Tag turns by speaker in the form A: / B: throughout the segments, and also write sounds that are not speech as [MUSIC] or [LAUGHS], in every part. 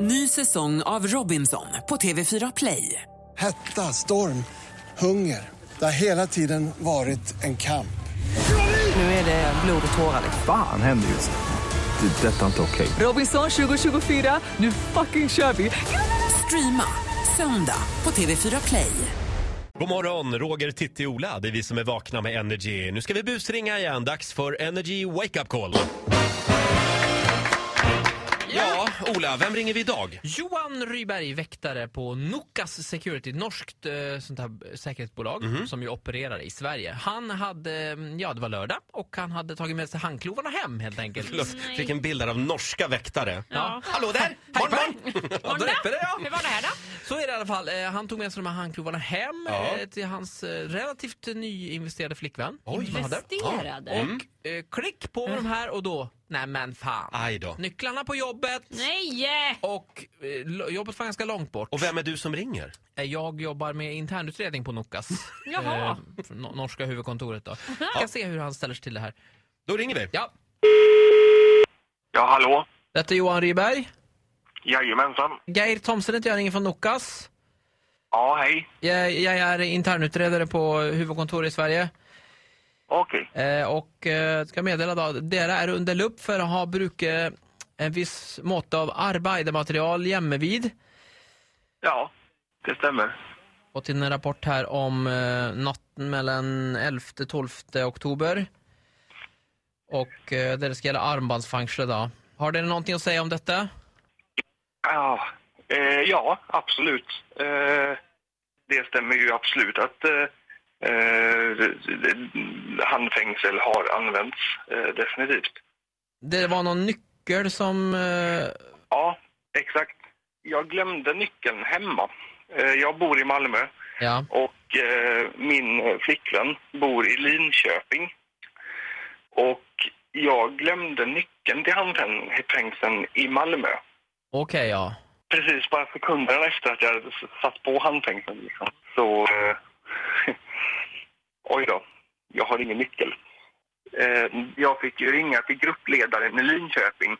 A: Ny säsong av Robinson på TV4 Play.
B: Hetta, storm, hunger. Det har hela tiden varit en kamp.
A: Nu är det blod och tårar.
C: Fan händer just nu. Det. är Detta är inte okej.
A: Robinson 2024, nu fucking kör vi! Streama söndag på TV4 Play.
D: God morgon, Roger, Titti, Ola. Det är vi som är vakna med Energy. Nu ska vi busringa igen. Dags för Energy Wake Up Call. Ja, Ola, vem ringer vi idag?
E: Johan Ryberg, väktare på Nokas Security, norskt eh, sånt här säkerhetsbolag
D: Mhm.
E: som ju opererar i Sverige. Han hade, mm, ja det var lördag, och han hade tagit med sig handklovarna hem helt enkelt.
D: Förlåt, fick en bild här av norska väktare.
E: Ja.
D: Hallå där!
E: [LAUGHS] Hej
D: Morgon, morgon! [LAUGHS]
E: Ja, då räcker det, ja.
F: Hur var det här då?
E: Så är det i alla fall. Eh, Han tog med sig de här handklovarna hem
D: Ja.
E: eh, till hans eh, relativt nyinvesterade flickvän.
D: Oj. Mm.
E: som han hade.
F: Investerade?
E: Och eh, klick på de här och då, nej men fan.
D: Aj då.
E: Nycklarna på jobbet
F: Nej!
E: och eh, lo- jobbet var ganska långt bort.
D: Och vem är du som ringer?
E: Eh, Jag jobbar med internutredning på Nokas.
D: [LAUGHS]
F: Jaha.
E: Eh, från no- norska huvudkontoret då. Vi kan se hur han ställer sig till det här.
D: Då ringer vi.
E: Ja,
G: Ja, hallå?
E: detta är Johan Ryberg.
G: Jajamensan.
E: Geir Thomsen heter jag, ringer från Nokas.
G: Ja, hej.
E: Jag, jag är internutredare på huvudkontoret i Sverige.
G: Okej.
E: Eh, och eh, ska meddela då, dere är under lupp för att ha brukat en viss mått av arbetematerial jämmevid.
G: Ja, det stämmer.
E: Fått in en rapport här om eh, natten mellan 11-12 oktober. Och eh, där det ska gälla armbandsfängsle då. Har ni någonting att säga om detta?
G: Ja, eh, ja absolut. Eh, det stämmer ju absolut att eh, eh, handfängsel har använts, eh, definitivt.
E: Det var någon nyckel som... Eh,
G: Ja, exakt. Jag glömde nyckeln hemma. Eh, jag bor i Malmö.
E: ja,
G: och eh, min flickvän bor i Linköping. Och jag glömde nyckeln till handfängseln i Malmö.
E: okej ja.
G: Precis bara sekunderna efter att jag hade s- satt på handfängseln. Liksom. Så... Eh, [LAUGHS] oj då, jag har ingen nyckel. Eh, jag fick ju ringa till gruppledaren i Linköping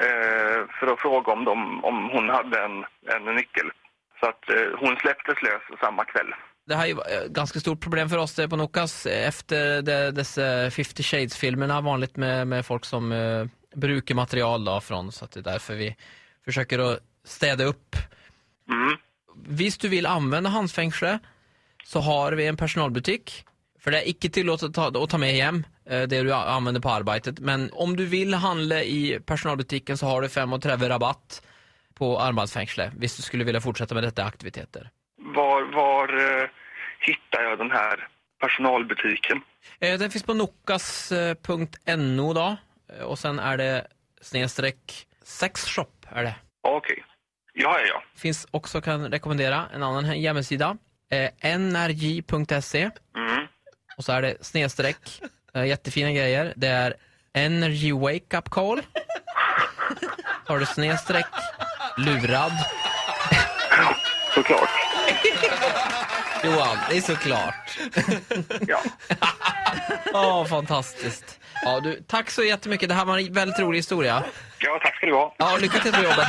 G: eh, för att fråga om, de, om hon hade en, en nyckel. Så att eh, hon släpptes lös samma kväll.
E: Det här är ju eh, ganska stort problem för oss där på Nokas eh, efter de- dessa 50 Shades-filmerna. Vanligt med, med folk som eh, brukar material då från. Så att det är därför vi försöker att städa upp.
G: Mm.
E: Visst du vill använda handfängsle så har vi en personalbutik. För det är icke tillåtet att ta, att ta med hem eh, det du a- använder på arbetet. Men om du vill handla i personalbutiken så har du 35 rabatt på armbandsfängsle. Visst du skulle vilja fortsätta med detta aktiviteter.
G: Var, var eh, hittar jag den här personalbutiken?
E: Eh, Den finns på eh, nokas.no då. Eh, Och sen är det snedstreck sexshop är det.
G: Ja, Okej. Ja, ja, ja.
E: Finns också, kan rekommendera, en annan he- hemsida. Eh, nrj.se
G: Mm.
E: E. och så är det snedstreck, eh, jättefina grejer. Det är energy wake up call. Så har du snedstreck, lurad.
G: Såklart.
E: Johan, det är såklart.
G: Ja.
E: Åh, fantastiskt. Ja, du, tack så jättemycket. Det här var en väldigt rolig historia.
G: ja, tack ska du ha.
E: Ja, lycka till på jobbet.